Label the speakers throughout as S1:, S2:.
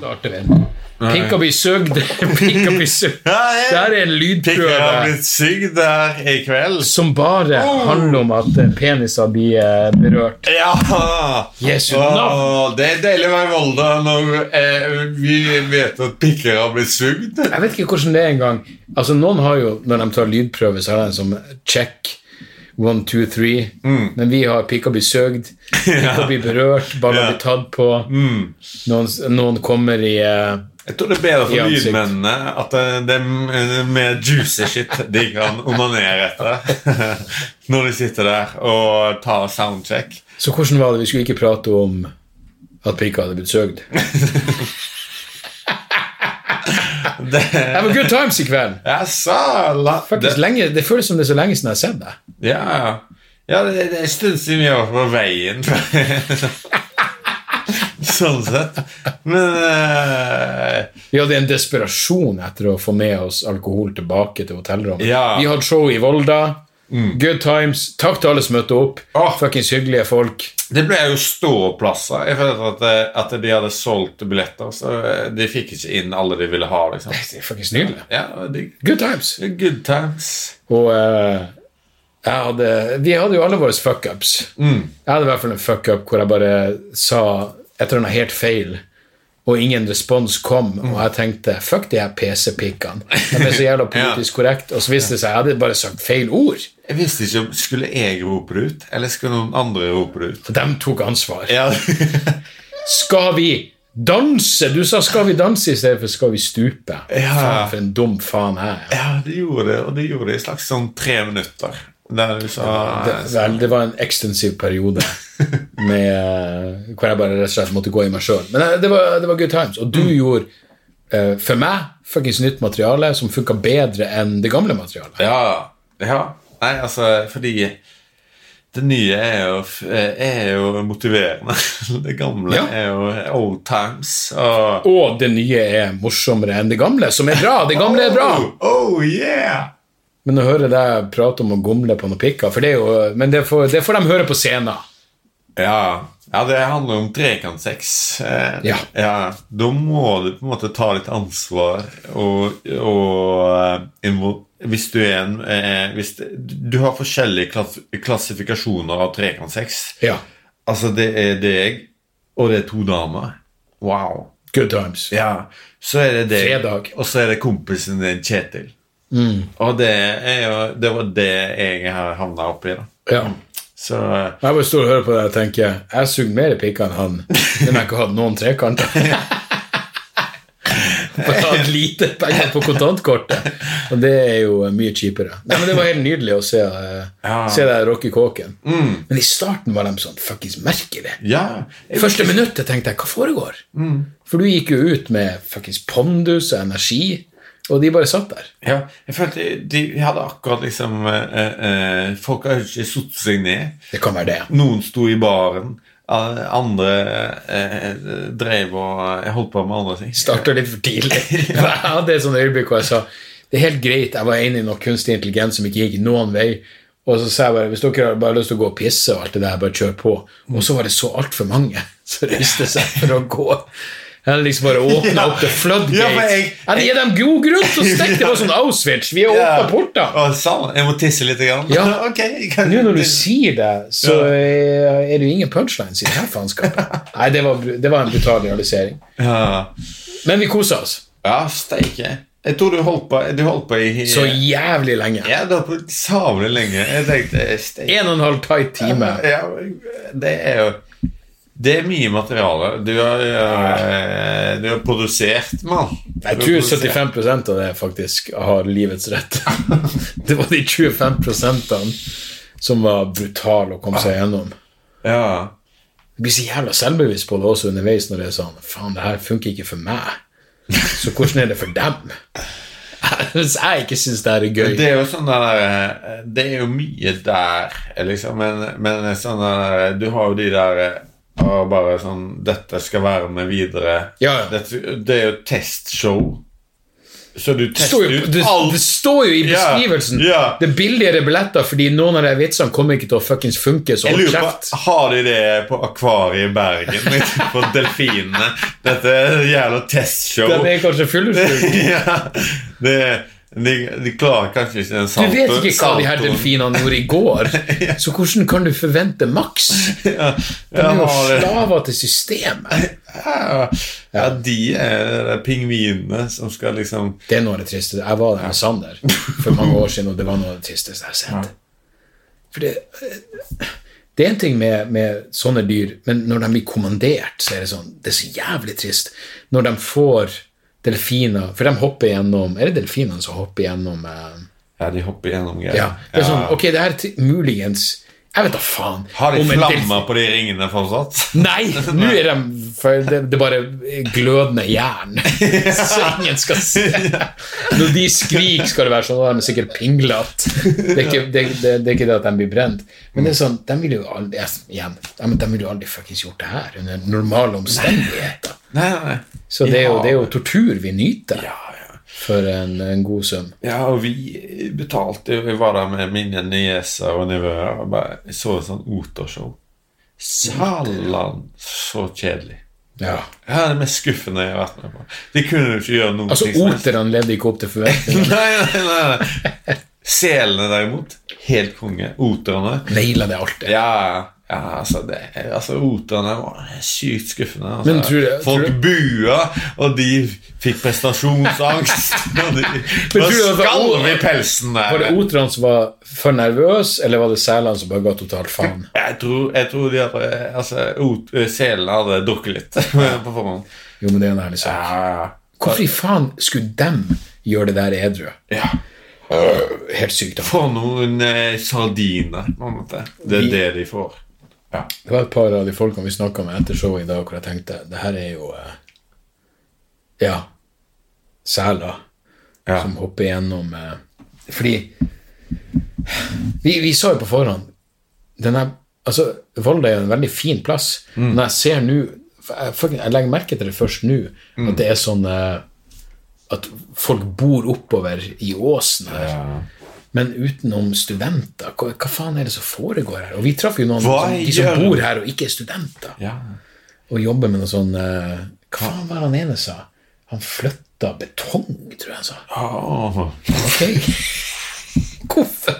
S1: svarte venn. Pikk og bli sugd. Pikk og bli sugd. Det her er en
S2: Pikken har
S1: lydprøve
S2: blitt sugd der i kveld.
S1: som bare handler om at eh, peniser blir eh, berørt.
S2: Ja!
S1: Jesu
S2: Åh,
S1: navn.
S2: det er deilig å være i Volda når eh, vi vet at pikker har blitt sugd.
S1: Jeg vet ikke hvordan det er engang. Altså, noen har jo, når de tar lydprøve, så har de en sånn check. One, two, three.
S2: Mm.
S1: Men vi har pikk og bli søgd, pikk og bli berørt, baller
S2: Ja.
S1: blir tatt på. Noen, noen kommer i eh,
S2: Hmm. Jeg tror det er
S1: I
S2: bedre for
S1: ansikt.
S2: lydmennene at eh, det er mer juicy shit de kan onanere etter når de sitter der og tar soundcheck.
S1: Så hvordan var det? Vi skulle ikke prate om at pikka hadde blitt søgd.
S2: Det-
S1: Det var good times i kveld.
S2: Jaså! la-
S1: Faktisk
S2: det-
S1: lenge, Det føles som det er så lenge siden jeg har sett deg.
S2: Ja, ja det, det er en stund siden vi har vært på veien. sånn sett. Men eh,
S1: Vi hadde en desperasjon etter å få med oss alkohol tilbake til hotellrommet.
S2: Ja.
S1: Vi hadde show i Volda. Good times. Takk til alle som møtte opp.
S2: Åh.
S1: Fuckings hyggelige folk.
S2: Det ble jo ståplasser. Jeg følte at, eh, at de hadde solgt billetter, så eh, de fikk ikke inn alle de ville ha. liksom.
S1: Det er fuckings nydelig.
S2: Ja, det var digg.
S1: Good times.
S2: Good times.
S1: Og eh, jeg hadde, vi hadde jo alle våre fuckups. Jeg hadde i hvert fall en fuckup hvor jeg bare sa et eller annet helt feil, og ingen respons kom, og jeg tenkte fuck de her PC-pikkene. De er så jævla politisk korrekt, og så viste det seg jeg hadde bare sagt feil ord.
S2: Jeg visste ikke om Skulle jeg rope det ut, eller skulle noen andre rope det ut?
S1: De tok ansvar.
S2: Ja,
S1: Skal vi danse? Du sa 'skal vi danse' i stedet for 'skal vi stupe'.
S2: Ja.
S1: Faen, for en dum faen jeg er.
S2: ja de gjorde det, og de gjorde det i slags sånn tre minutter. Der du sa altså.
S1: Det, vel, det var en ekstensiv periode med, eh, hvor jeg bare rett og slett måtte gå i meg sjøl. Men eh, det var, det var good times. Og
S2: Mm.
S1: du gjorde, eh, for meg, fuckings nytt materiale som funka bedre enn det gamle materialet.
S2: Ja, ja. Nei, altså, fordi det nye er jo, f- eh, er jo motiverende. Det gamle
S1: Ja.
S2: er jo old times. Og
S1: Og det nye er morsommere enn det gamle, som er bra. Det gamle er bra.
S2: Oh, oh yeah!
S1: Men å høre deg prate om å gomle på noen pikker for det er jo, Men det får, det får de høre på scenen.
S2: Ja, ja det handler om trekantsex. Eh,
S1: Ja.
S2: Da må du på en måte ta litt ansvar og, og eh, invo- Hvis du er en eh, hvis, Du har forskjellige klass, klassifikasjoner av trekantsex.
S1: Ja.
S2: Altså, det er deg, og det er to damer. Wow.
S1: Good times.
S2: Ja, så er det deg,
S1: Fredag. Mm.
S2: og så er det kompisen din Kjetil. Og det, er jo, det var det jeg har havna oppi, da.
S1: Ja.
S2: Så
S1: Jeg bare står og hører på deg og tenker jeg sugde mer pikker enn han, men jeg har ikke hatt noen trekanter. Bare hatt lite penger på kontantkortet. Og det er jo mye kjipere. Nei, men Det var helt nydelig å se, eh,
S2: Ja. Mm.
S1: se deg rocke kåken. Men i starten var de sånn fuckings merkelig.
S2: ja. Mm. Jeg,
S1: Første minuttet tenkte jeg 'hva foregår?' For du gikk jo ut med fuckings pondus og energi, og de bare satt der.
S2: ja, jeg følte de hadde akkurat liksom eh, eh, Folk har jo ikke satt seg ned.
S1: Det kan være det.
S2: Noen sto i baren. eh, Andre eh, drev og eh, holdt på med andre ting.
S1: starta litt for tidlig. Jeg hadde et sånt øyeblikk hvor jeg sa det er helt greit, jeg var enig i noe kunstig intelligens som ikke gikk noen vei. Og så sa jeg bare hvis dere har bare lyst til å gå og pisse og alt det der, bare kjør på. Og så var det så altfor mange som reiste seg for å gå. Jeg hadde liksom bare åpna opp the floodgates.
S2: Ja,
S1: Jeg
S2: for jeg-
S1: hadde gitt dem god grunn til å stikke. Det var sånn Auschwitz. Vi har
S2: Ja.
S1: åpna porta.
S2: Og sånn, jeg må tisse litt. Grann.
S1: Ja.
S2: ok, jeg kan-
S1: Nå når du sier det, så eh, er det jo ingen punchlines i det her faenskapet. Nei, det var, det var en brutal realisering.
S2: ja.
S1: Men vi kosa oss
S2: Ja, steike. Jeg tror du holdt på, du holdt på i
S1: så jævlig lenge.
S2: Ja, du holdt på savlig lenge. Jeg tenkte eh, steike.
S1: En og en halv tight time.
S2: Ja, det er jo Det er mye materiale. Du har, eh, du har produsert, mann.
S1: Jeg tror 75 av det faktisk har livets rett. Det var de 25 som var brutale å komme seg
S2: Ah.
S1: gjennom.
S2: Ja.
S1: Jeg blir så jævla selvbevisst på det også underveis når det er sånn Faen, det her funker ikke for meg. Så hvordan er det for dem? Hvis jeg ikke syns det her er gøy
S2: Det er jo sånn der eh, Det er jo mye der, eh, liksom, men, men sånn der eh, Du har jo de der eh, og bare sånn 'Dette skal være med videre'.
S1: Ja, ja.
S2: Dette, det er jo testshow. Så du
S1: Det står,
S2: tester
S1: jo,
S2: ut
S1: det,
S2: alt
S1: det står jo i
S2: Ja,
S1: beskrivelsen.
S2: ja.
S1: Det er billigere billetter fordi noen av de vitsene kommer ikke til å fuckings funke. Så
S2: Jeg
S1: hold
S2: lurer
S1: kjeft.
S2: på, Har de det på Akvariet i Bergen? For delfinene? Dette er jævla testshow.
S1: Den er kanskje fyllesyk.
S2: ja, det, de, de klarer kanskje ikke den
S1: Du
S2: saltoen.
S1: vet ikke hva de her delfinene gjorde i går, så hvordan kan du forvente maks?
S2: Ja,
S1: De
S2: ja,
S1: er jo
S2: har det.
S1: slaver til systemet.
S2: ja, ja, de er de pingvinene som skal liksom
S1: Det er noe av det triste. Jeg var der med Sander for mange år siden, og det var noe av det tristeste jeg har sett. For det, det er en ting med, med sånne dyr, men når de blir kommandert, så er det sånn Det er så jævlig trist. Når de får delfiner For de hopper gjennom Er det delfinene som hopper gjennom eh,
S2: Ja, de hopper gjennom greier.
S1: Ja. Det er sånn Ok, det her er t- muligens Jeg vet da faen.
S2: Har de
S1: om en delfin-
S2: flammer på de ringene fortsatt?
S1: Nei, nå er de for det, det er bare glødende jern. Så ingen skal se. Når de skriker, skal det være sånn. Da er de sikkert pinglete. Det, er ikke- det, det, det er ikke det at de blir brent. Men det er sånn, de ville jo aldri ja, igjen, ja, men de ville jo aldri fuckings gjort det her under normale omstendigheter.
S2: Nei, nei, nei.
S1: Så det er jo, det er jo tortur vi nyter
S2: Ja, ja.
S1: for en, en god sum.
S2: Ja, og vi betalte Vi var der med mine nieser og nevøer og bare jeg så et sånt otershow. Salan, så kjedelig.
S1: Ja.
S2: Det er det mest skuffende jeg har vært med på. De kunne jo ikke gjøre noe
S1: Altså, oterne levde ikke opp til forventningene.
S2: Nei, nei, nei, nei. Selene derimot, helt konge. Oterne.
S1: Naila det alltid.
S2: Ja, ja, altså, det, altså Oterne var sykt skuffende. Altså.
S1: Men tror du-
S2: Folk
S1: tror
S2: bua, og de fikk prestasjonsangst. og de
S1: Men
S2: bare
S1: tror du det var-
S2: skalv i pelsen der.
S1: Var det oterne som var for nervøse, eller var det selene som bare ga totalt faen?
S2: Jeg tror, jeg tror de hadde altså, ot- Selene hadde drukket litt på forhånd.
S1: Jo, men det er en ærlig sak.
S2: Ja,
S1: Hvorfor i faen skulle dem gjøre det der edru?
S2: ja.
S1: Helt sykt. da.
S2: Få noen eh, sardiner, på en måte. Det er det de får. Ja.
S1: Det var et par av de folkene vi snakka med etter showet i dag, hvor jeg tenkte det her er jo eh, Ja. Seler
S2: Ja.
S1: som hopper gjennom eh, Fordi vi, vi sa jo på forhånd denne, altså, Volda er jo en veldig fin plass.
S2: Mm.
S1: Men jeg ser nå for jeg, fucking- jeg legger merke til det først nå,
S2: Mm.
S1: at det er sånn eh, At folk bor oppover i åsen her. Men utenom studenter, hva, hva faen er det som foregår her? Og vi traff jo noen
S2: Hva
S1: som, de som
S2: gjør-
S1: bor her og ikke er studenter,
S2: Ja.
S1: og jobber med noe sånn eh, Hva faen var det han ene sa? Han flytta betong, tror jeg han sa.
S2: Åh.
S1: Ok. Hvorfor?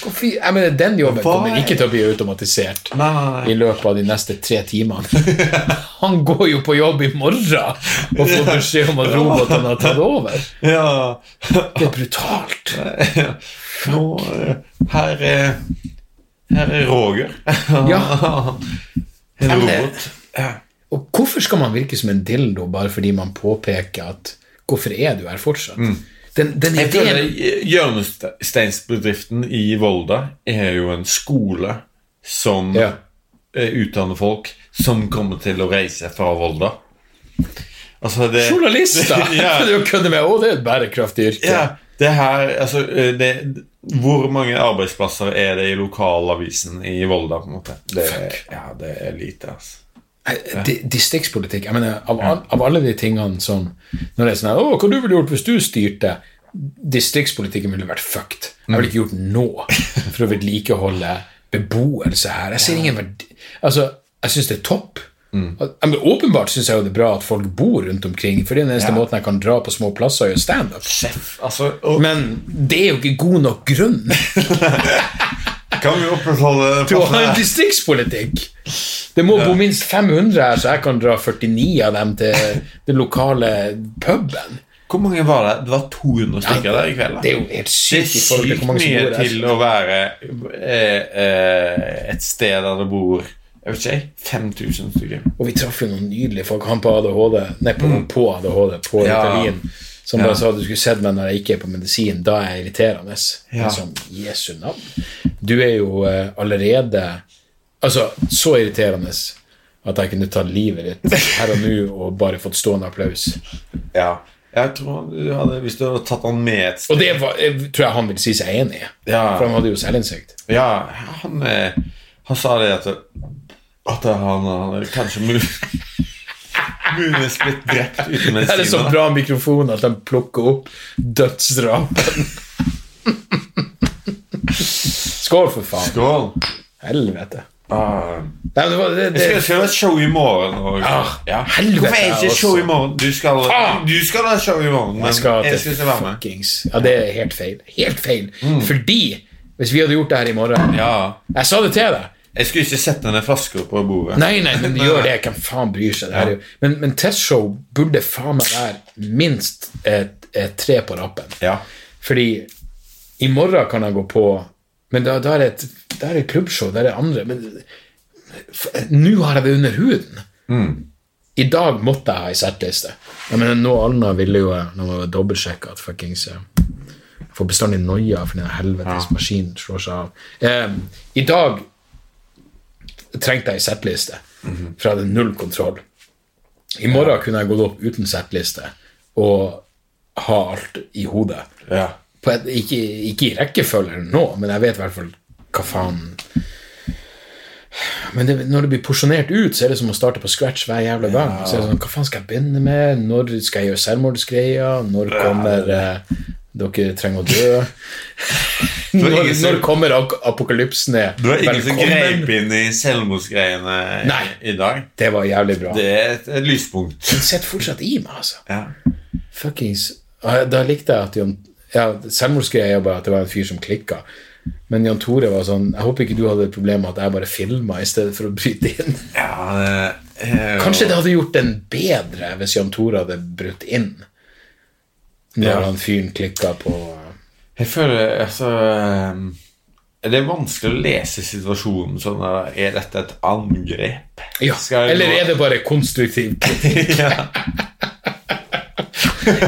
S1: Hvorfor? Jeg mener, den jobben
S2: Hva
S1: kommer
S2: er-
S1: ikke til å bli automatisert
S2: Nei, nei, nei.
S1: i løpet av de neste tre timene. Han går jo på jobb i morgen og får beskjed om at robotene har tatt over.
S2: Ja.
S1: Det er brutalt.
S2: Nå eh, Her er Her er Roger.
S1: Ja.
S2: En
S1: men det-
S2: robot. Ja.
S1: Og hvorfor skal man virke som en dildo bare fordi man påpeker at Hvorfor er du her fortsatt? Den, den
S2: Mm. Jeg føler eh,
S1: ideen
S2: Hjørnesteinsbedriften i Volda er jo en skole som
S1: Ja.
S2: eh, utdanner folk som kommer til å reise fra Volda. Altså det,
S1: Journalister!
S2: ja,
S1: Det er jo å kødde med. Å, det er et bærekraftig yrke.
S2: ja, det her altså, eh, det, Hvor mange arbeidsplasser er det i lokalavisen i Volda? på en måte? Det, ja, det er lite, altså.
S1: Nei, di- Distriktspolitikk. Jeg mener, av, al- av alle de tingene som Når det er sånn her, Å, hva du ville gjort hvis du styrte? Distriktspolitikken ville vært fucked. Jeg ville ikke gjort noe for å vedlikeholde beboelse her. Jeg ser ingen verdi Altså, jeg syns det er topp.
S2: Mm.
S1: At- jeg mener, åpenbart syns jeg jo det er bra at folk bor rundt omkring, for det er den eneste måten jeg kan dra på små plasser og gjøre standup.
S2: altså og,
S1: Men det er jo ikke god nok grunn
S2: Kan vi opprettholde Altså, den
S1: til å ha
S2: plassen
S1: en
S2: her?
S1: distriktspolitikk. Det må bo minst 500 her, så jeg kan dra 49 av dem til den lokale puben.
S2: Hvor mange var det? Det var 200 stykker der i kveld. da.
S1: Det er jo helt
S2: Det er
S1: sykt i forhold til
S2: sykt
S1: hvor mange som
S2: mye
S1: bor her.
S2: til å være eh, eh, et sted der det bor jeg vet ikke, 5000 stykker.
S1: Og vi traff jo noen nydelige folk. Han på ADHD, nei, på, på ADHD, på
S2: Mm. Ja.
S1: Ritalin, som
S2: Ja.
S1: bare sa du skulle sett meg når jeg ikke er på medisin. Da er jeg irriterende.
S2: Ja.
S1: Men Sånn, Jesu navn. Du er jo eh, allerede Altså, så irriterende at jeg kunne tatt livet ditt her og nå og bare fått stående applaus.
S2: Ja. Jeg tror du hadde, Hvis du hadde tatt han med et sted
S1: Og det var, jeg tror jeg han vil si seg enig i.
S2: Ja.
S1: For han hadde jo selvinnsikt.
S2: Ja, han, eh, han sa det at At han hadde kanskje mul Muligens blitt drept uten
S1: Det er så
S2: medisiner.
S1: bra mikrofon at de plukker opp dødsdrapen. Skål, for faen.
S2: Skål.
S1: Helvete.
S2: Ah.
S1: Nei, men det var, det,
S2: Jeg skal,
S1: det,
S2: skal du ha et show i morgen? Og,
S1: Ah, helvete,
S2: Hvorfor er det
S1: jeg
S2: ikke show
S1: også.
S2: i morgen? Du skal,
S1: Faen!
S2: du skal ha show i morgen, men
S1: jeg skal
S2: jeg
S1: til
S2: skal ikke være med.
S1: fuckings Ja, det er helt feil. Helt feil. Fordi hvis vi hadde gjort det her i morgen
S2: Mm. Ja.
S1: Jeg sa det til deg.
S2: Jeg skulle ikke sette ned flasker på bordet.
S1: Nei, nei, men de gjør det. Hvem faen bryr seg? Det her er jo- Men, men testshow burde faen meg være minst et, et tre på rappen.
S2: Ja.
S1: Fordi i morgen kan jeg gå på Men da, da er det et da er det klubbshow, da er det andre Men f- nå har jeg det under huden. I dag måtte jeg ha ei settliste. Jeg mener, noe annet ville jo jeg- Nå må jeg dobbeltsjekke at fuckings eh, Jeg får bestandig noia fordi den helvetes maskinen slår seg av. Eh, I dag trengte jeg ei settliste, for jeg hadde null kontroll. I morgen kunne jeg gått opp uten settliste og ha alt i hodet
S2: ja.
S1: på et, ikke, ikke i rekkefølge eller nå, men jeg vet i hvert fall hva faen Men det, når det blir porsjonert ut, så er det som å starte på scratch hver jævla gang. Så er det sånn, Hva faen skal jeg begynne med? Når skal jeg gjøre selvmordsgreier? Når kommer eh, Dere trenger å dø.
S2: var
S1: når,
S2: ingen som-
S1: når kommer ak apokalypsen ned?
S2: Det var ingen som grep inn i selvmordsgreiene i-
S1: Nei.
S2: i dag.
S1: Det var jævlig bra.
S2: Det er et, et lyspunkt.
S1: Den sitter fortsatt i meg, altså.
S2: Ja.
S1: Fuckings Ah, Da likte jeg at Jan ja, Selvmordsgreia er bare at det var en fyr som klikka. Men Jan Tore var sånn Jeg håper ikke du hadde et problem med at jeg bare filma i stedet for å bryte inn.
S2: ja det er jo-
S1: Kanskje det hadde gjort den bedre hvis Jan Tore hadde brutt inn når
S2: Ja.
S1: han fyren klikka på
S2: Jeg føler altså um, Det er vanskelig å lese situasjonen sånn der, Er dette et angrep?
S1: Ja, eller er det bare konstruktivt?
S2: ja.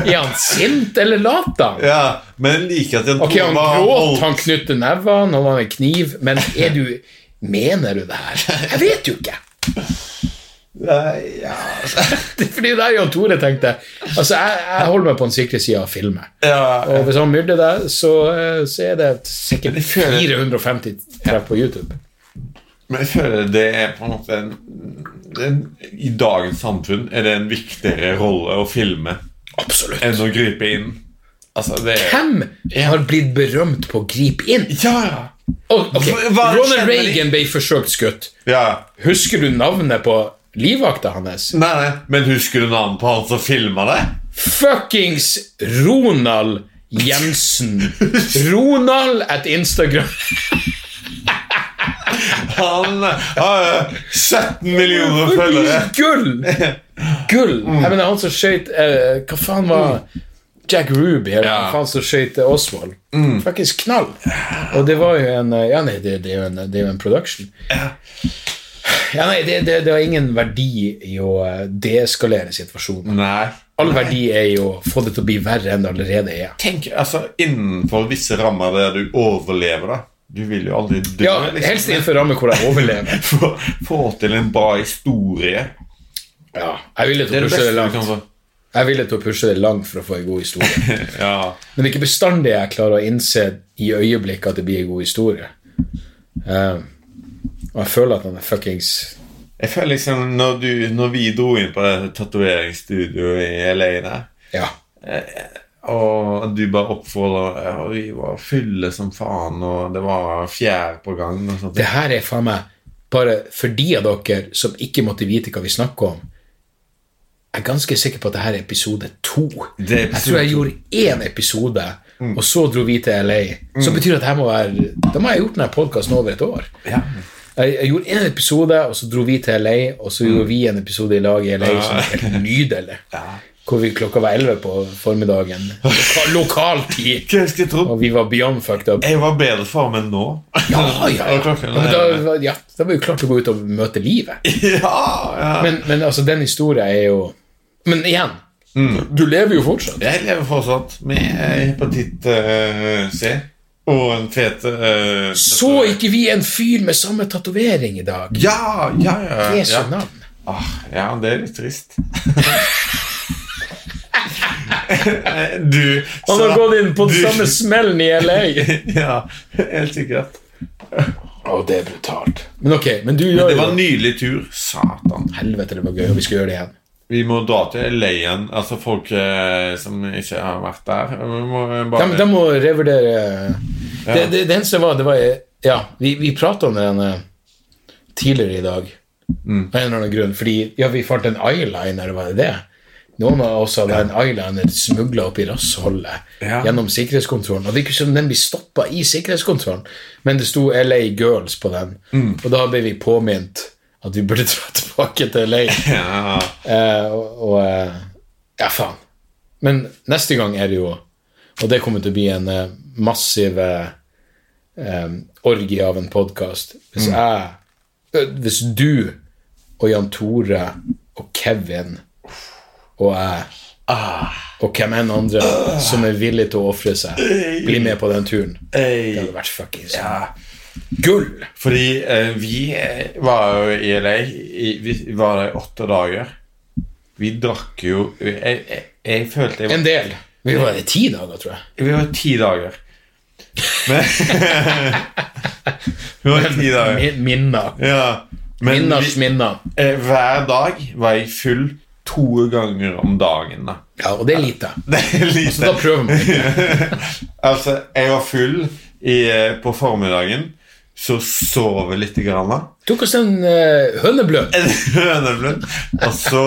S1: Er han sint, eller lat han?
S2: ja, men jeg liker at den
S1: Ok, han gråt, han knytter nevene, han har en kniv, men er du Mener du det her? Jeg vet jo ikke.
S2: Nei, ja.
S1: Det er Fordi det er Jan Tore tenkte. Altså, jeg, jeg holder meg på den sikre sida av filmen.
S2: ja.
S1: Og hvis han myrder deg, så, eh, så er det sikkert
S2: Men jeg føler-
S1: 450 treff på YouTube.
S2: Men jeg føler det er på en måte en, en, I dagens samfunn er det en viktigere rolle å filme
S1: Absolutt.
S2: enn å gripe inn. Altså, det er
S1: Hvem har blitt berømt på å gripe inn?
S2: Ja, ja.
S1: Og, ok,
S2: Hva- hva
S1: Ronald
S2: skjedde med
S1: Reagan ble forsøkt skutt.
S2: ja.
S1: Husker du navnet på livvakta hans?
S2: Nei, nei, men husker du navnet på han som filma det?
S1: Fuckings Ronald Jensen. Ronald at Instagram.
S2: Han eh, har eh, 17 millioner følgere.
S1: Fuckings gull! Gull! Jeg mener, han som skøyt eh, Hva faen var Jack Ruby, eller
S2: Ja.
S1: hva faen som skøyt eh, Oswald? Fuckings knall! Og det var jo en eh, Ja, nei, det, det, er, jo en, det er jo en production. Ja, nei, det, det, det har ingen verdi i å eh, deeskalere situasjonen.
S2: Nei.
S1: All verdi er jo å få det til å bli verre enn det allerede er.
S2: Tenk, altså, innenfor visse rammer der du overlever, da. Du vil jo aldri dø.
S1: Ja,
S2: liksom.
S1: helst innenfor rammer hvor jeg overlever.
S2: få, få til en bra historie.
S1: Ja, jeg er villig til å pushe det langt.
S2: få.
S1: Jeg er villig til å pushe det langt for å få en god historie.
S2: Ja.
S1: Men det er ikke bestandig jeg klarer å innse i øyeblikket at det blir en god historie. Eh, og jeg føler at han er fuckings
S2: Jeg føler liksom når, du, når vi dro inn på det tatoveringsstudioet i LA der,
S1: Ja.
S2: eh, og du bare oppfordra Og vi var fylle som faen, og det var fjær på gang og sånt.
S1: Det her er faen meg bare for de av dere som ikke måtte vite hva vi snakker om. Jeg er ganske sikker på at det her er episode to.
S2: Det
S1: jeg
S2: er episode
S1: tror jeg
S2: to. Mm.
S1: gjorde én episode, og så dro vi til LA. Så betyr det at det her må være, da må jeg ha gjort denne podkasten over et år.
S2: Ja.
S1: Jeg, jeg gjorde en episode, og så dro vi til LA, og så gjorde vi en episode i lag i LA som var helt nydelig. Hvor vi klokka var 11 på formiddagen. Loka, lokal tid!
S2: Hva skulle jeg trodd?
S1: Og vi var beyond fucked up.
S2: Jeg var i bedre form enn nå.
S1: Ja, ja, ja.
S2: Og klokken
S1: Ja, men
S2: er-
S1: da, var- ja, da var vi klart å gå ut og møte livet.
S2: ja, ja.
S1: Men, men altså, den historien er jo Men igjen, du lever jo fortsatt.
S2: Jeg lever fortsatt med hepatitt eh, C og en fet eh,
S1: Så ikke vi en fyr med samme tatovering i dag?
S2: Ja, ja, ja.
S1: Jesu
S2: ja.
S1: navn.
S2: Ah, ja, det er litt trist. du
S1: Han har
S2: sa-
S1: gått inn på den
S2: du-
S1: samme smellen i LA.
S2: Ja, helt sikkert.
S1: Å, det er brutalt. Men ok, men du gjør
S2: Det
S1: jo
S2: var en nydelig tur. Satan.
S1: Helvete, det var gøy, og vi skal gjøre det igjen.
S2: Vi må dra til LA igjen. Altså folk eh, som ikke har vært der. Vi må eh, bare
S1: De, de må revurdere det, det, det eneste var, det var Ja, vi, vi prata om den eh, tidligere i dag av en eller annen grunn, fordi ja, vi fant en eyeliner, var det det? Noen av oss hadde en eyeliner smugla opp i rassholdet
S2: Ja.
S1: gjennom sikkerhetskontrollen. Og det virker som den blir stoppa i sikkerhetskontrollen, men det sto LA Girls på den. Og da ble vi påminnet at vi burde dra tilbake til LA.
S2: Ja.
S1: Eh, og og eh, ja, faen. Men neste gang er det jo Og det kommer til å bli en eh, massiv eh, eh, orgie av en podkast. Hvis
S2: Mm.
S1: jeg ø, Hvis du og Jan Tore og Kevin og jeg og hvem enn andre som er villig til å ofre seg, blir med på den turen. Det
S2: Hey.
S1: hadde vært fuckings gull!
S2: Fordi eh, vi eh, var jo i LA i, Vi var der i åtte dager. Vi drakk jo eh, Jeg, jeg, jeg følte jeg,
S1: En del. Vi var i ti dager, tror jeg.
S2: Vi var ti dager. Men, vi var ti dager.
S1: Mi- Minner.
S2: Ja. Men
S1: Minners
S2: vi,
S1: minner.
S2: eh, hver dag var jeg full to ganger om dagen. da
S1: Ja, og det er lite.
S2: Det er lite.
S1: Så da prøver man.
S2: altså, jeg var full i, eh, på formiddagen, så sov jeg litt. Grann, da.
S1: Tok oss en uh, hønebløt.
S2: Høneblund. og så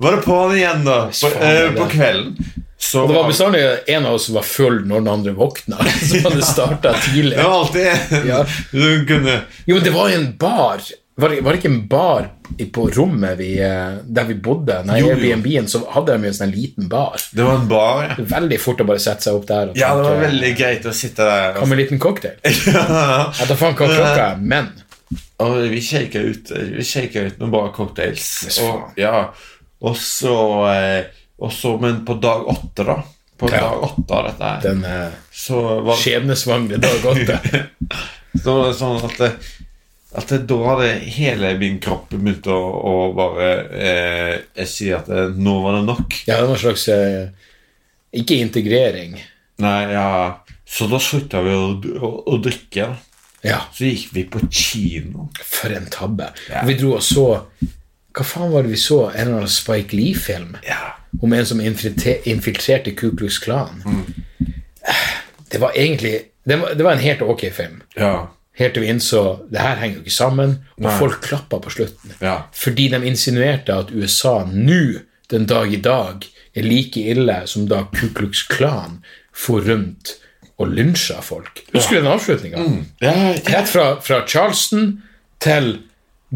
S2: var det på'n igjen, da. På, eh, på kvelden. Så
S1: Det var bestandig en av oss som var full når den andre våkna. Så det startet tidlig.
S2: det var alltid en
S1: Ja.
S2: du kunne
S1: Jo, men det var en bar. Var det, var det ikke en bar i- på rommet vi, eh, der vi bodde? Nei,
S2: Jo, jo.
S1: Airbnb-en så hadde de jo en sånn liten bar.
S2: Det var en bar, ja.
S1: Veldig fort å bare sette seg opp der. og
S2: Ja, det var
S1: tenke,
S2: veldig greit å sitte der. altså.
S1: Kom en liten cocktail. Jeg
S2: Og,
S1: vet da faen hva klokka er, men
S2: og vi shaka ut, vi shaket ut noen bra cocktails.
S1: faen.
S2: Og, ja. og så eh, og så, Men på dag åtte, da. På
S1: Ja.
S2: dag åtte av dette her,
S1: den eh,
S2: så var det
S1: skjebnesvangre dag åtte
S2: Så det var sånn at, det, at det, da hadde hele min kropp begynt å, å bare eh, jeg sier at eh, nå var det nok.
S1: Ja, det var en slags eh, Ikke integrering.
S2: Nei, ja. Så da slutta vi å, å, å drikke. da.
S1: Ja.
S2: Så gikk vi på kino.
S1: For en tabbe.
S2: Ja.
S1: Og Vi dro og så Hva faen var det vi så? En eller annen Spike Lee-film
S2: Ja.
S1: om en som infiltre- infiltrerte Ku Klux Klan.
S2: Mm.
S1: Det var egentlig det var, det var en helt ok film.
S2: Ja.
S1: Helt til vi innså det her henger jo ikke sammen, og folk klappa på slutten.
S2: Ja.
S1: Fordi de insinuerte at USA nå, den dag i dag, er like ille som da Ku Klux Klan for rundt og lynsja folk. Husker du den avslutninga?
S2: ja, ja.
S1: Rett fra, fra Charleston til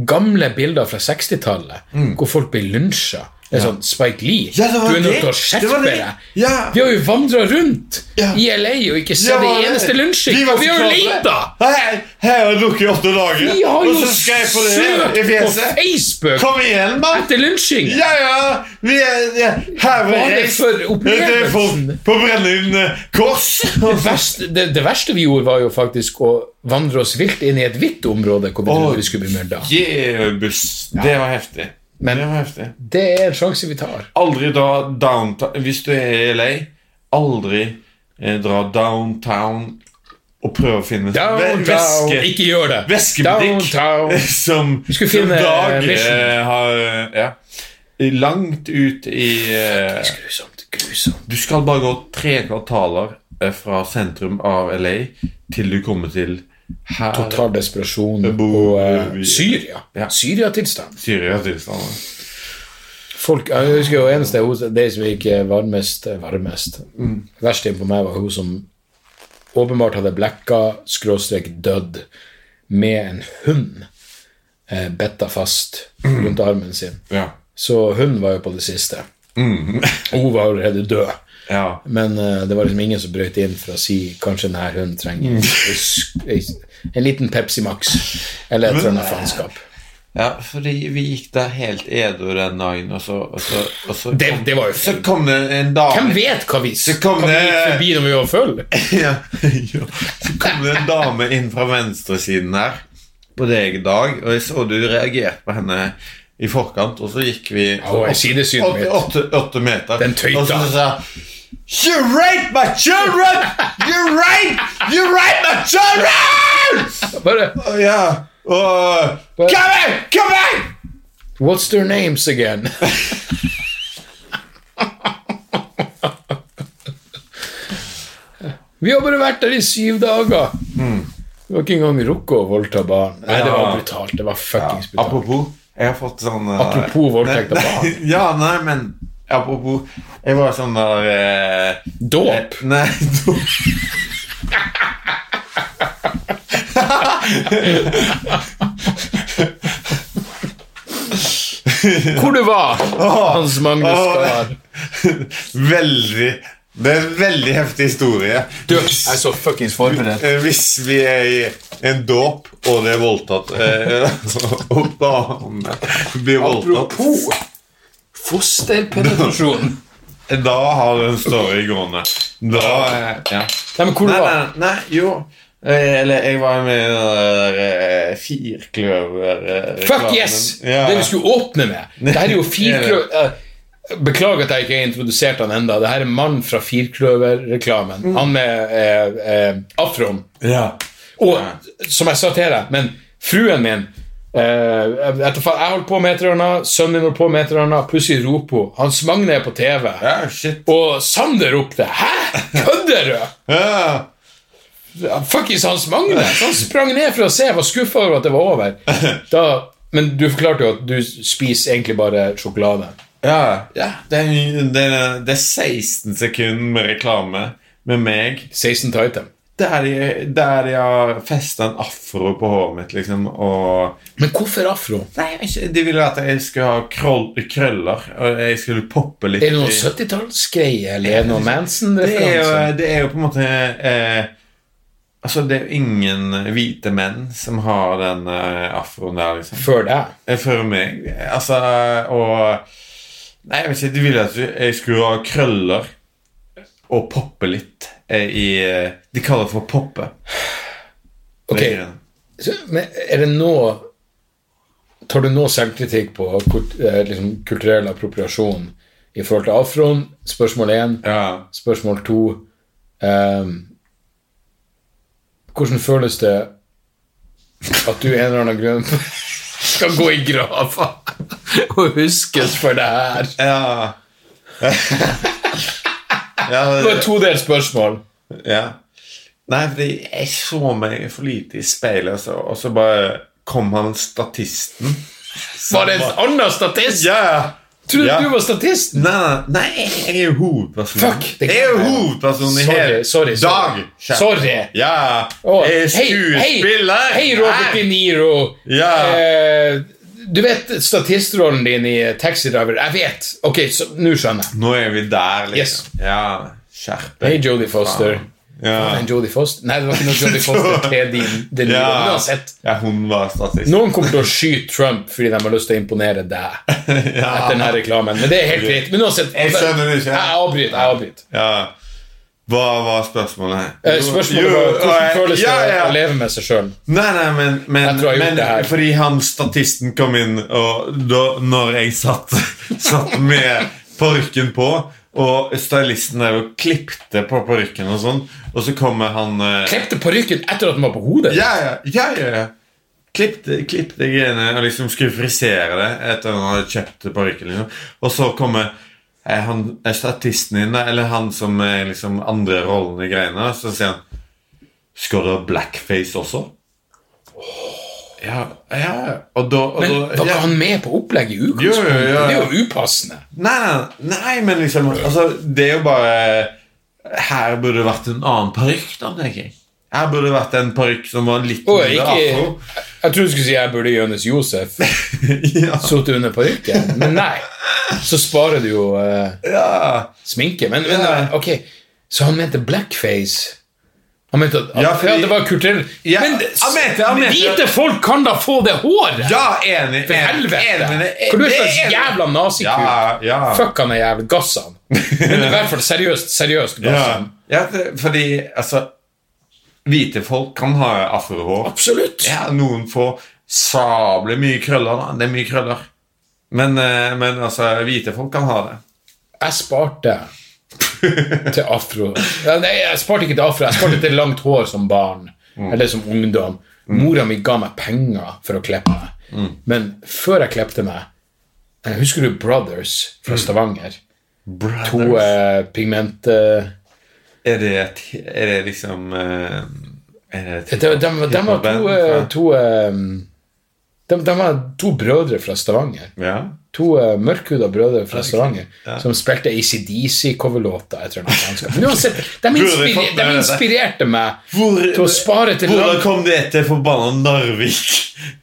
S1: gamle bilder fra 60-tallet, hvor folk blir lynsja. Det er sånn Spike Lee,
S2: Mm. Ja, det var
S1: du er nødt
S2: det.
S1: til å
S2: Det
S1: skjerpe
S2: var det.
S1: deg!
S2: Ja.
S1: Vi har jo vandra rundt
S2: Ja.
S1: i LA og ikke sett
S2: Ja,
S1: det
S2: det-
S1: eneste lunsjing!
S2: vi var
S1: Og vi har jo
S2: så klare.
S1: leita!
S2: Hei, her har jeg drukket i åtte dager,
S1: Vi har
S2: og
S1: jo
S2: så skal jeg på det i
S1: søkt på
S2: fjeset.
S1: Facebook
S2: Kom igjen, mann!
S1: etter lunsjing!
S2: Ja, ja, vi er, ja, her var
S1: Bare
S2: jeg
S1: for
S2: Det er
S1: opplevelsen.
S2: for- På Brennevin eh, Kors.
S1: Det verste, det, det verste vi gjorde, var jo faktisk å vandre oss vilt inn i et hvitt område hvor vi
S2: Å,
S1: trodde vi skulle bli myrda.
S2: Yeah, buss. Det var heftig.
S1: Men-
S2: det var heftig.
S1: Det er en sjanse vi tar.
S2: Aldri dra downtown Hvis du er i LA, aldri eh, dra downtown og prøve å finne ve-
S1: Downtown.
S2: væske
S1: Ikke gjør det!
S2: væskebutikk
S1: Downtown.
S2: som,
S1: skulle
S2: som
S1: finne
S2: Dag
S1: Mission.
S2: eh, har ja, langt ut i eh,
S1: Grusomt. Grusomt.
S2: Du skal bare gå tre kvartaler eh, fra sentrum av LA til du kommer til her
S1: Total desperasjon og
S2: bor
S1: eh,
S2: vi-
S1: Syria.
S2: Ja.
S1: Syria-tilstand.
S2: Syria-tilstander.
S1: Folk, jeg husker jo eneste hun, De som gikk eh, varmest eh, Varmest. Verst inn på meg var hun som åpenbart hadde blekka, skråstrek dødd, med en hund eh, bitta fast rundt armen sin.
S2: Ja.
S1: Så hunden var jo på det siste. Og hun var allerede død.
S2: ja.
S1: Men eh, det var liksom ingen som brøt inn for å si kanskje denne hunden trenger
S2: Mm.
S1: en sk- en, en liten Pepsi Max eller et eller annet faenskap.
S2: Ja, fordi vi gikk der helt edru den dagen, og så, og så, og så
S1: Det, det var jo
S2: Så
S1: feil.
S2: kom det en dame
S1: Hvem vet hva vi
S2: Så
S1: hva
S2: kom eh,
S1: vi
S2: det-
S1: gikk forbi når vi var full?
S2: ja, ja. Så kom det en dame inn fra venstresiden her på deg, Dag, og jeg så du reagerte på henne i forkant, og så gikk vi
S1: hun er i sidesynet
S2: åtte,
S1: mitt.
S2: åtte, åtte meter.
S1: Den tøyta.
S2: Og så sa You rape my children! You rape! You rape my children!
S1: Bare
S2: Og ja, og Come here! Come here!
S1: What's their names again? Vi har bare vært der i syv dager! Vi har ikke engang rukket å voldta barn. Nei, det
S2: Mm. Ja.
S1: var brutalt. Det var fuckings brutalt.
S2: Apropos, jeg har fått sånn eh,
S1: Apropos voldtekt av
S2: nei, nei, Ja, nei, men apropos Jeg var sånn der eh,
S1: Dåp!
S2: eh, Nei,
S1: Hvor du var, Hans Magnus
S2: Åh.
S1: Gahr?
S2: veldig Det er en veldig heftig historie.
S1: Du, jeg er så fuckings forberedt.
S2: Eh, Hvis vi er i en dåp, og det er voldtatt eh, Og damene blir voldtatt
S1: Apropos fosterpenetrasjon.
S2: Da har du en story gående. Da eh, ja.
S1: Nei, men hvor du
S2: Nei,
S1: var?
S2: nei, nei, jo Eh, Eller jeg var med i den der eh, firkløver-reklamen.
S1: Fuck yes!
S2: Ja.
S1: Det vi skulle åpne med. Det her er jo firkløv... eh, Beklager at jeg ikke har introdusert han enda. Det her er mannen fra Firkløver-reklamen.
S2: Mm.
S1: Han med eh, eh, afroen.
S2: ja.
S1: Og som jeg sa til deg, men fruen min eh, etter, fa- Jeg holdt på med et eller annet, sønnen min holdt på med et eller annet, plutselig roper hun. Hans Magne er på TV.
S2: ja, shit.
S1: Og Sander ropte 'Hæ? Kødder du?'
S2: Ja.
S1: Fuckings Hans Magne! Så han sprang ned for å se, var skuffa over at det var over. Da, men du forklarte jo at du spiser egentlig bare sjokolade.
S2: Ja, ja. Det, er, det, er, det er 16 sekunder med reklame med meg
S1: 16 Titan.
S2: der jeg, der jeg har festa en afro på håret mitt, liksom, og
S1: Men hvorfor afro?
S2: Nei, jeg vet ikke, De ville at jeg skulle ha kroll, krøller, og jeg skulle poppe litt
S1: Er det noen
S2: i-
S1: 70-tallsgreie, eller er det noen
S2: det er, jo,
S1: Manson-referanse?
S2: det er jo på en måte eh, Altså, det er jo ingen hvite menn som har den eh, afroen der, liksom.
S1: Før deg.
S2: Eh, For meg. Altså, og Nei, jeg vet ikke. De ville at jeg skulle ha krøller og poppe litt eh, i eh, De kaller det for poppe.
S1: Ok, så- men er det nå Tar du nå selvkritikk på kort- eh, liksom, kulturell appropriasjon i forhold til afroen? Spørsmål én.
S2: Ja.
S1: Spørsmål to ehm, Hvordan føles det at du en eller annen grunn skal gå i grava og huskes for det her?
S2: Ja. ja,
S1: Det var et todelt spørsmål.
S2: ja. Nei, fordi jeg så meg for lite i speilet, og så, og så bare kom han statisten.
S1: Var det en annen statist?
S2: Ja, ja.
S1: Trodde
S2: Ja.
S1: du var statisten?
S2: Nei, nei, nei, jeg- jeg er jo hovedpersonen.
S1: Fuck, det kan
S2: jeg er jo
S1: jeg.
S2: hovedpersonen i
S1: Sorry,
S2: hele
S1: sorry, sorry.
S2: dag. kjære.
S1: Sorry.
S2: Ja,
S1: Å,
S2: jeg
S1: hei,
S2: er
S1: hei,
S2: skuespiller.
S1: Hei, Robert De
S2: Nei.
S1: Niro.
S2: Ja.
S1: Eh, du vet statistrollen din i Taxi Driver. Jeg vet. Ok, så nå skjønner jeg.
S2: Nå er vi der, liksom.
S1: Yes.
S2: Ja, skjerpe.
S1: Hei, Jodie Foster.
S2: Ja.
S1: Nei, Jodie Foster Nei, det var ikke noe Jodie Foster til din, din
S2: Ja.
S1: liv, uansett.
S2: ja, hun var statist.
S1: Noen kommer til å skyte Trump fordi de har lyst til å imponere deg etter denne reklamen. Men det er helt greit. Men uansett
S2: Jeg skjønner det ikke.
S1: Jeg avbryter. Jeg avbryter.
S2: Ja. Hva var spørsmålet? eh,
S1: Eh, Spørsmålet var hvordan føles det
S2: ja, ja.
S1: å leve med seg sjøl?
S2: Nei, nei, men, men,
S1: Jeg tror jeg har gjort det her.
S2: men fordi han statisten kom inn, og da når jeg satt, satt med parykken på, og stylisten der jo klippte på parykken og sånn, og så kommer han eh,
S1: Klepte parykken etter at den var på hodet?
S2: Ja, ja, ja, ja, ja. Klippte, klippte greiene og liksom skulle frisere det etter han hadde kjøpt parykken. Liksom. Og så kommer eh, han, eh, statisten inn, da, eller han som er liksom andre rollen i greiene, og så sier han Skal du ha blackface også? Ja, ja, ja. Og da, og
S1: Men
S2: da
S1: var
S2: ja.
S1: ikke han med på opplegget i
S2: Jo, jo,
S1: utgangspunktet?
S2: jo, jo.
S1: Det er jo upassende.
S2: Nei, nei, nei, men liksom altså, Det er jo bare Her burde det vært en annen parykk, da, tenker jeg. Her burde det vært en parykk som var litt
S1: Og
S2: mindre
S1: ikke
S2: afro.
S1: Jeg trodde du skulle si jeg burde Jonis Josef
S2: ja.
S1: sittet under parykken, men nei. Så sparer du jo eh,
S2: Ja.
S1: sminke. Men, men
S2: Ja.
S1: ok, så han mente blackface. Han mente at, at
S2: Ja,
S1: ja,
S2: fordi-
S1: det var kulturell
S2: Ja,
S1: Men
S2: han mente- han mente-
S1: hvite folk kan da få det håret!
S2: Ja, enig.
S1: For helvete! For du er en slags jævla nazikuk.
S2: Ja, ja.
S1: Fuck han er jævla gassan. Men i hvert fall seriøst, seriøst
S2: Ja.
S1: gassan.
S2: ja, det- fordi altså Hvite folk kan ha afrohår.
S1: Absolutt!
S2: Ja, noen får sabla mye krøller. da Det er mye krøller. Men, eh, men altså, hvite folk kan ha det.
S1: Jeg sparte til afro. Ja, Nei, jeg sparte ikke til afro, jeg sparte til langt hår som barn.
S2: Mm.
S1: Eller som ungdom. Mora mi ga meg penger for å klippe meg.
S2: Mm.
S1: Men før jeg klippet meg eh, Husker
S2: Mm.
S1: du Brothers fra Stavanger? To eh, pigment... Eh,
S2: Er det, et, er det liksom eh, er det et
S1: De, de, de var to,
S2: hiphop-band
S1: eh,
S2: fra-
S1: to eh, de, de var to brødre fra Stavanger.
S2: Ja?
S1: To eh, mørkhuda brødre fra Stavanger
S2: Ja.
S1: som spilte ACDC-coverlåter. Jeg tror det var fransk. Men uansett, de,
S2: Burde vi
S1: inspiri-
S2: fått med
S1: de
S2: dette?
S1: inspirerte meg
S2: Hvor,
S1: til å spare til
S2: hvordan
S1: lang-
S2: kom det til forbanna Narvik?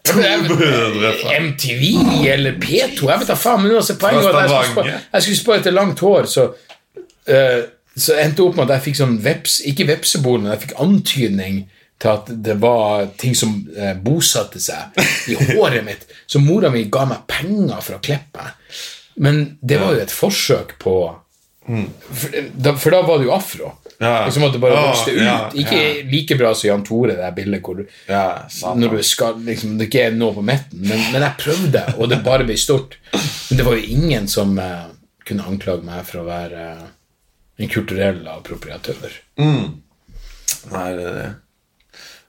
S2: To brødre fra
S1: MTV eller P2, jeg vet da faen. Men uansett, poenget var at jeg skulle
S2: Stavanger.
S1: spå- jeg skulle spå etter langt hår, så eh, så endte det opp med at jeg fikk sånn veps, ikke vepsebol, men jeg fikk antydning til at det var ting som eh, bosatte seg i håret mitt. Så mora mi ga meg penger for å klippe meg. Men det var jo et forsøk på for, eh, da, for da var det jo afro.
S2: Mm. Ja.
S1: Liksom at det bare
S2: Ah,
S1: vokste ut.
S2: ja,
S1: ikke
S2: ja.
S1: like bra som Jan Tore, det der bildet hvor du
S2: Ja,
S1: når du skal, liksom, det ikke er noe på midten. Men, men jeg prøvde, og det bare ble stort. Men det var jo ingen som eh, kunne anklage meg for å være eh, en kulturell appropriatør.
S2: Nei, det er det.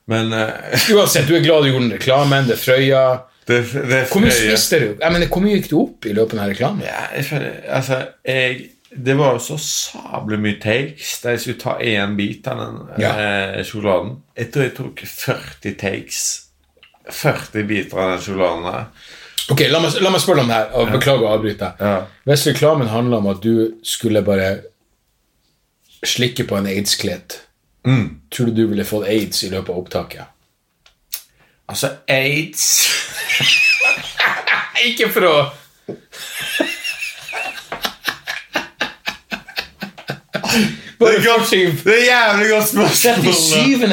S2: Men eh,
S1: Uansett, du er glad du gjorde den reklamen, det er Frøya
S2: det, det er
S1: Hvor mye
S2: frøye.
S1: spiste du? Jeg mener, hvor mye gikk du opp i løpet av denne reklamen?
S2: Ja, jeg føler, altså, jeg, det var jo så sabelig mye takes da jeg skulle ta én bit av den
S1: Ja.
S2: eh, sjokoladen. Jeg tror jeg tok 40 takes. 40 biter av den sjokoladen der.
S1: Ok, La meg, la meg spørre om det her, og beklager å avbryte.
S2: Ja.
S1: Hvis reklamen handla om at du skulle bare slikke på en aids-kledd,
S2: Mm.
S1: tror du du ville fått aids i løpet av opptaket?
S2: Altså aids
S1: Ikke for å Bare fortsett.
S2: Det er et jævlig godt spørsmål.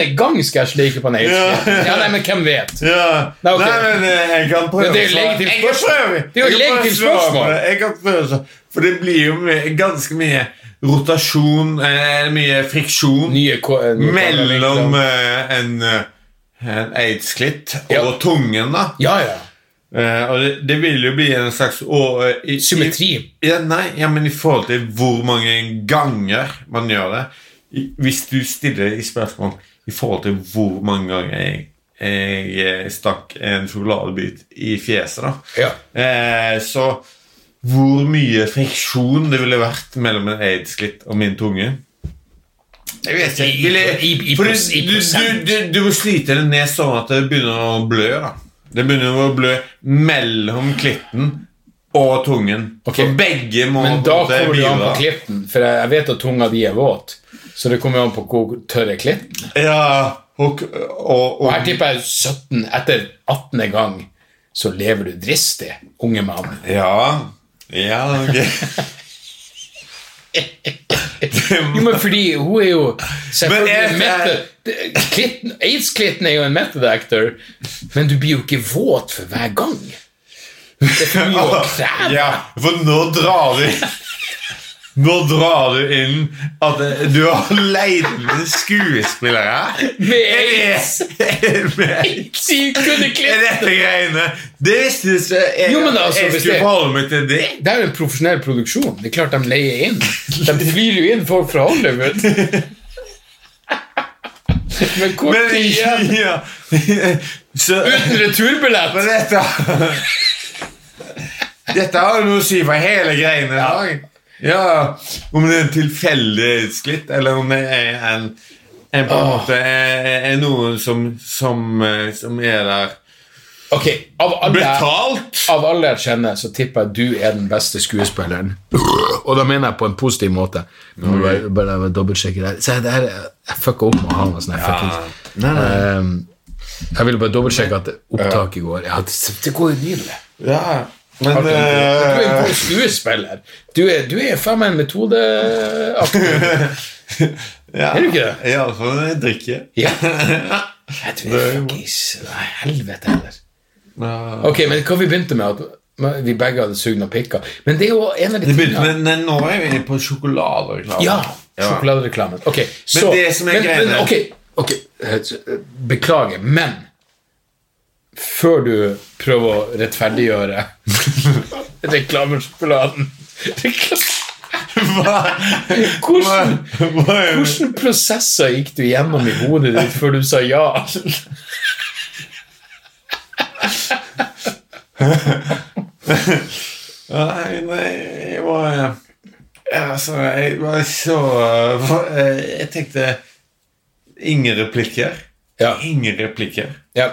S1: 37. gang skal jeg slike på en aids
S2: Ja.
S1: Ja, nei, men hvem vet?
S2: Ja.
S1: Nei, ok.
S2: Nei, men eh, jeg kan prøve
S1: Men det er jo
S2: å svare.
S1: legitimt
S2: Jeg kan
S1: spørsmål.
S2: prøve.
S1: Det er jo
S2: Jeg kan prøve å
S1: legitimt
S2: svare på
S1: spørsmål.
S2: det. Jeg kan prøve å svare. For det blir jo mye, ganske mye rotasjon, eh, mye friksjon.
S1: Nye ko- eh, nye
S2: Mellom
S1: kameraer,
S2: eh, en, eh, en aids-klitt og
S1: Ja.
S2: tungen, da.
S1: Ja, ja.
S2: Eh, og det, det vil jo bli en slags å, eh, i-
S1: Symmetri.
S2: I, ja, nei, ja, men i forhold til hvor mange ganger man gjør det i, Hvis du stiller i spørsmål i forhold til hvor mange ganger jeg, jeg eh, stakk en sjokoladebit i fjeset, da
S1: Ja.
S2: eh, Så hvor mye friksjon det ville vært mellom en aids-klitt og min tunge jeg vet
S1: I-
S2: ikke.
S1: i-
S2: Ville-
S1: i- i
S2: for
S1: pros- i
S2: du,
S1: prosent.
S2: du, du, du må slite det ned sånn at det begynner å blø. da. Det begynner å blø mellom klitten og tungen.
S1: Ok.
S2: For begge må
S1: Men
S2: på
S1: da
S2: en måte
S1: kommer du an på
S2: bidra.
S1: klitten, for jeg jeg vet at tunga di er våt. Så det kommer an på hvor tørr er klitten.
S2: Ja, og, og, og,
S1: Og her tipper jeg 17 etter 18. gang så lever du dristig, unge mann.
S2: Ja. Ja, ok.
S1: Jo, men fordi hun er jo selvfølgelig
S2: Men jeg-
S1: en method- Klitten- Aids-klitten er jo en method actor, men du blir jo ikke våt for hver gang. Det er for mye å kreve.
S2: ja, for nå drar du Nå drar du inn at du har leid med skuespillere.
S1: Med
S2: Er det-
S1: aids.
S2: Med aids.
S1: Sykt kunne
S2: Er
S1: klippe.
S2: dette greiene Det visste du ikke. Jeg,
S1: Jo, men altså,
S2: jeg
S1: hvis
S2: skulle
S1: det-
S2: forholde meg til det.
S1: Det er jo en profesjonell produksjon. Det er klart de leier inn. De flyr jo inn folk fra Hollywood. Men kort
S2: Men
S1: tid igjen.
S2: ja. Så,
S1: Uten
S2: men
S1: returbillett.
S2: dette Dette har jo noe å si for hele greiene i dag. Ja, Om det er en tilfeldig skritt, eller om det er en, en på en
S1: Åh.
S2: måte er, er noen som, som, eh, som er der
S1: Ok, av alle
S2: Betalt!
S1: Av alle jeg kjenner, så tipper jeg du er den beste skuespilleren. Og da mener jeg på en positiv måte. Nå må jeg bare, bare dobbeltsjekke det her. Se, det her er- Jeg fucka opp med å ha noe sånn her fuckings
S2: Nei, nei.
S1: Ehm, Jeg ville bare dobbeltsjekke at opptaket går. Ja, det, det går jo nydelig.
S2: Ja, men
S1: Du er en
S2: eh,
S1: god skuespiller. Du er, du er faen meg en metodeaktor.
S2: ja,
S1: Er du ikke
S2: det? Iallfall når jeg drikker.
S1: Ja. Jeg tror jeg fuckings Nei, helvete heller.
S2: Ja.
S1: Ok, men hva vi begynte med? At vi begge hadde sugd noen pikker. Men det er jo en av de
S2: Det begynte med, men nå er vi på sjokoladereklame.
S1: Ja, sjokoladereklamen. Ok, så,
S2: det som er
S1: men,
S2: greia-
S1: men, ok, ok, eh, så, eh, Beklager, men før du prøver å rettferdiggjøre reklamesjokoladen rekla- Hvordan,
S2: Hvordan
S1: hvordan prosesser gikk du gjennom i hodet ditt før du sa ja?
S2: Nei, nei, jeg må eh, ja, altså, jeg var så eh, Jeg tenkte Ingen replikker.
S1: Ja.
S2: Ingen replikker.
S1: Ja.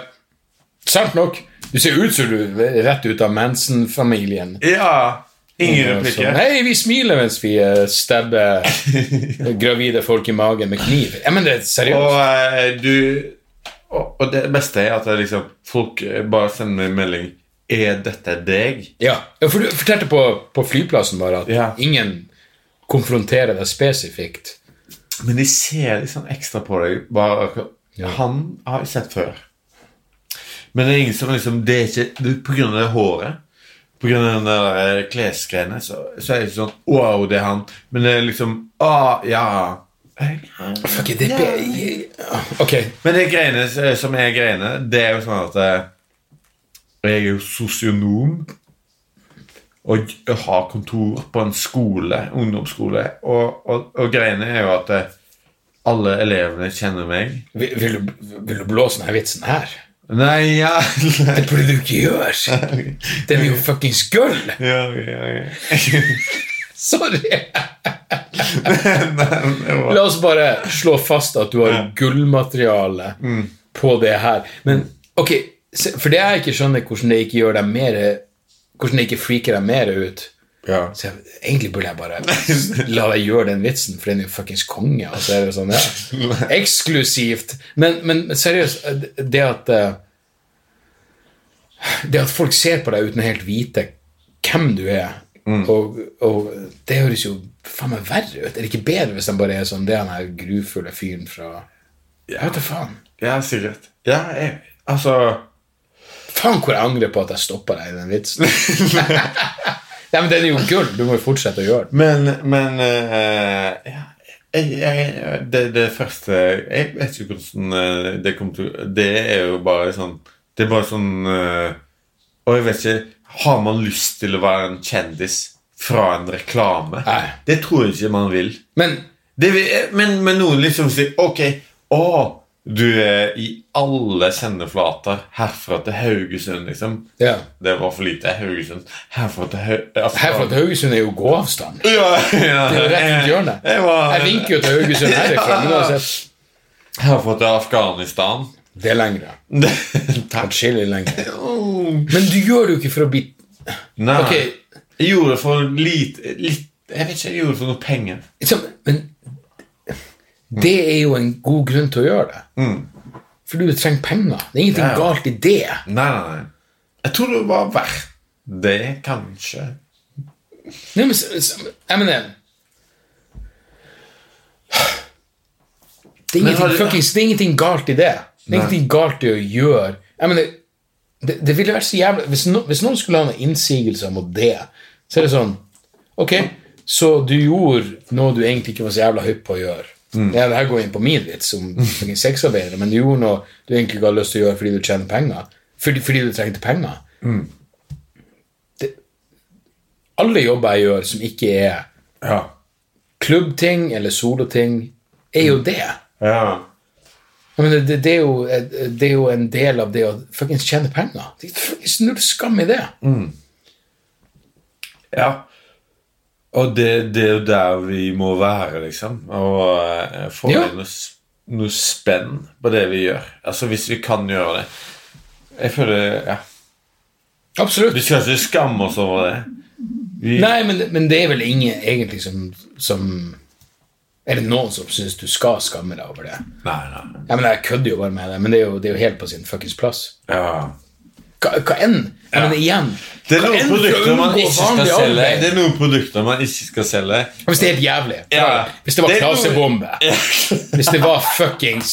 S1: Sant nok. Du ser ut som du er rett ut av Manson-familien.
S2: Ja! Ingen
S1: Sånn,
S2: replikker.
S1: Hei, vi smiler mens vi eh, stabber gravide folk i magen med kniv. Ja, men det er
S2: Og
S1: seriøst.
S2: eh, du Og og det beste er at det liksom, folk eh, bare sender meg en melding Er dette deg?
S1: Ja, ja for du fortalte på, på flyplassen bare at
S2: Ja.
S1: ingen konfronterer deg spesifikt.
S2: Men de ser litt sånn ekstra på deg. Bare, akkurat- Han har jeg sett før. Men det er ingen som liksom Det er ikke det, er På grunn av det håret, på grunn av den der eh, klesgreiene, så, så er det ikke sånn Wow, det er han. Men det er liksom Ah, ja.
S1: Fuck, det er Ok,
S2: Men det greiene s- eh, som er greiene, det er jo sånn at eh, Jeg er jo sosionom. Og jeg har kontor på en skole, ungdomsskole. Og, og, og greiene er jo at eh, alle elevene kjenner meg.
S1: vil, vil, du, vil du blåse denne vitsen her?
S2: Nei, ja
S1: Det burde du ikke gjøre! Det er jo fuckings gull!
S2: Ja, ja, ja.
S1: Sorry!
S2: Nei, det var-
S1: La oss bare slå fast at du har gullmateriale på det her. Men ok, se- for det jeg ikke skjønner hvordan det ikke gjør deg mer Hvordan det ikke freaker deg mer ut
S2: Ja.
S1: så jeg, Egentlig burde jeg bare la deg gjøre den vitsen, for den er jo fuckings konge. og så er det jo sånn, ja. Eksklusivt. Men, men seriøst, det at eh, Det at folk ser på deg uten å helt vite hvem du er, og, og det høres jo faen meg verre ut. Er det ikke bedre hvis de bare er sånn Det er han her grufulle fyren fra Jeg vet da faen.
S2: ja, sikkert. Ja, jeg, altså
S1: Faen hvor jeg angrer på at jeg stoppa deg i den vitsen. Nei, men den er jo gull. Du må jo fortsette å gjøre den.
S2: Men, men eh, ja, jeg, jeg, det, det første Jeg vet ikke hvordan eh, det kommer til Det er jo bare sånn Det er bare sånn eh, Og jeg vet ikke Har man lyst til å være en kjendis fra en reklame?
S1: Nei.
S2: Det tror jeg ikke man vil.
S1: Men
S2: Det, vi- men, men noen liksom sier Ok, å, du er i alle sendeflater herfra til Haugesund, liksom.
S1: Ja.
S2: Det var for lite Haugesund. Herfra til altså, Haugesund
S1: Herfra til Haugesund er jo gåavstand. Det
S2: ja, ja.
S1: er jo rett rundt hjørnet.
S2: Jeg, var,
S1: Jeg vinker jo til Haugesund herifra. Men uansett,
S2: herfra til Afghanistan.
S1: det er lengre.
S2: Takk.
S1: Atskillig lengre. Men du gjør det jo ikke for å bli
S2: Nei.
S1: Ok.
S2: Jeg gjorde det for lite litt, Jeg vet ikke, jeg gjorde det for noe penger.
S1: liksom, Men det er jo en god grunn til å gjøre det. For du trenger penger. Det er ingenting
S2: Mm. Ja.
S1: galt i det.
S2: Nei, nei, nei. Jeg tror det var verdt det, kanskje.
S1: Nei, men, s- M&M. s- jeg mener Det er
S2: Men har
S1: ingenting,
S2: du-
S1: fuckings, det er ingenting galt i det. Det er ingenting galt i å gjøre jeg mener, det, det ville vært så jævlig hvis, no, hvis noen skulle ha noen innsigelser mot det, så er det sånn Ok, så du gjorde noe du egentlig ikke var så jævla hypp på å gjøre.
S2: Mm.
S1: Ja, det her går inn på min vits om fucking sexarbeidere, men du gjorde noe du egentlig ikke hadde lyst til å gjøre fordi du tjener penger. Fordi, fordi du trengte penger. Det, alle jobber jeg gjør som ikke er
S2: Ja.
S1: klubbting eller soloting, er
S2: Mm.
S1: jo det.
S2: ja.
S1: Jeg mener, det, det, er jo, eh, det er jo en del av det å fuckings tjene penger. Det er fuckings null skam i det.
S2: Mm. Ja. Og det, det er jo der vi må være, liksom. Og eh, få
S1: Ja.
S2: inn noe, s- noe spenn på det vi gjør. Altså, hvis vi kan gjøre det. Jeg føler Ja.
S1: Absolutt.
S2: Vi skal ikke skamme oss over det. Vi,
S1: Nei, men, men det er vel ingen egentlig som, som Er det noen som syns du skal skamme deg over det?
S2: nei, nei.
S1: Jeg, mener, jeg kødder jo bare med det, men det er jo, det er jo helt på sin fuckings plass.
S2: Ja.
S1: Hva, hva enn? Jeg mener, igjen
S2: Det er
S1: hva
S2: noen
S1: enn du
S2: produkter man
S1: unngår
S2: ikke skal
S1: vanlig
S2: selge.
S1: arbeid.
S2: Det er noen produkter man ikke skal selge.
S1: Hvis det er helt jævlig.
S2: Ja.
S1: Hvis det var
S2: Det er noe-
S1: klasebombe. Hvis det var fuckings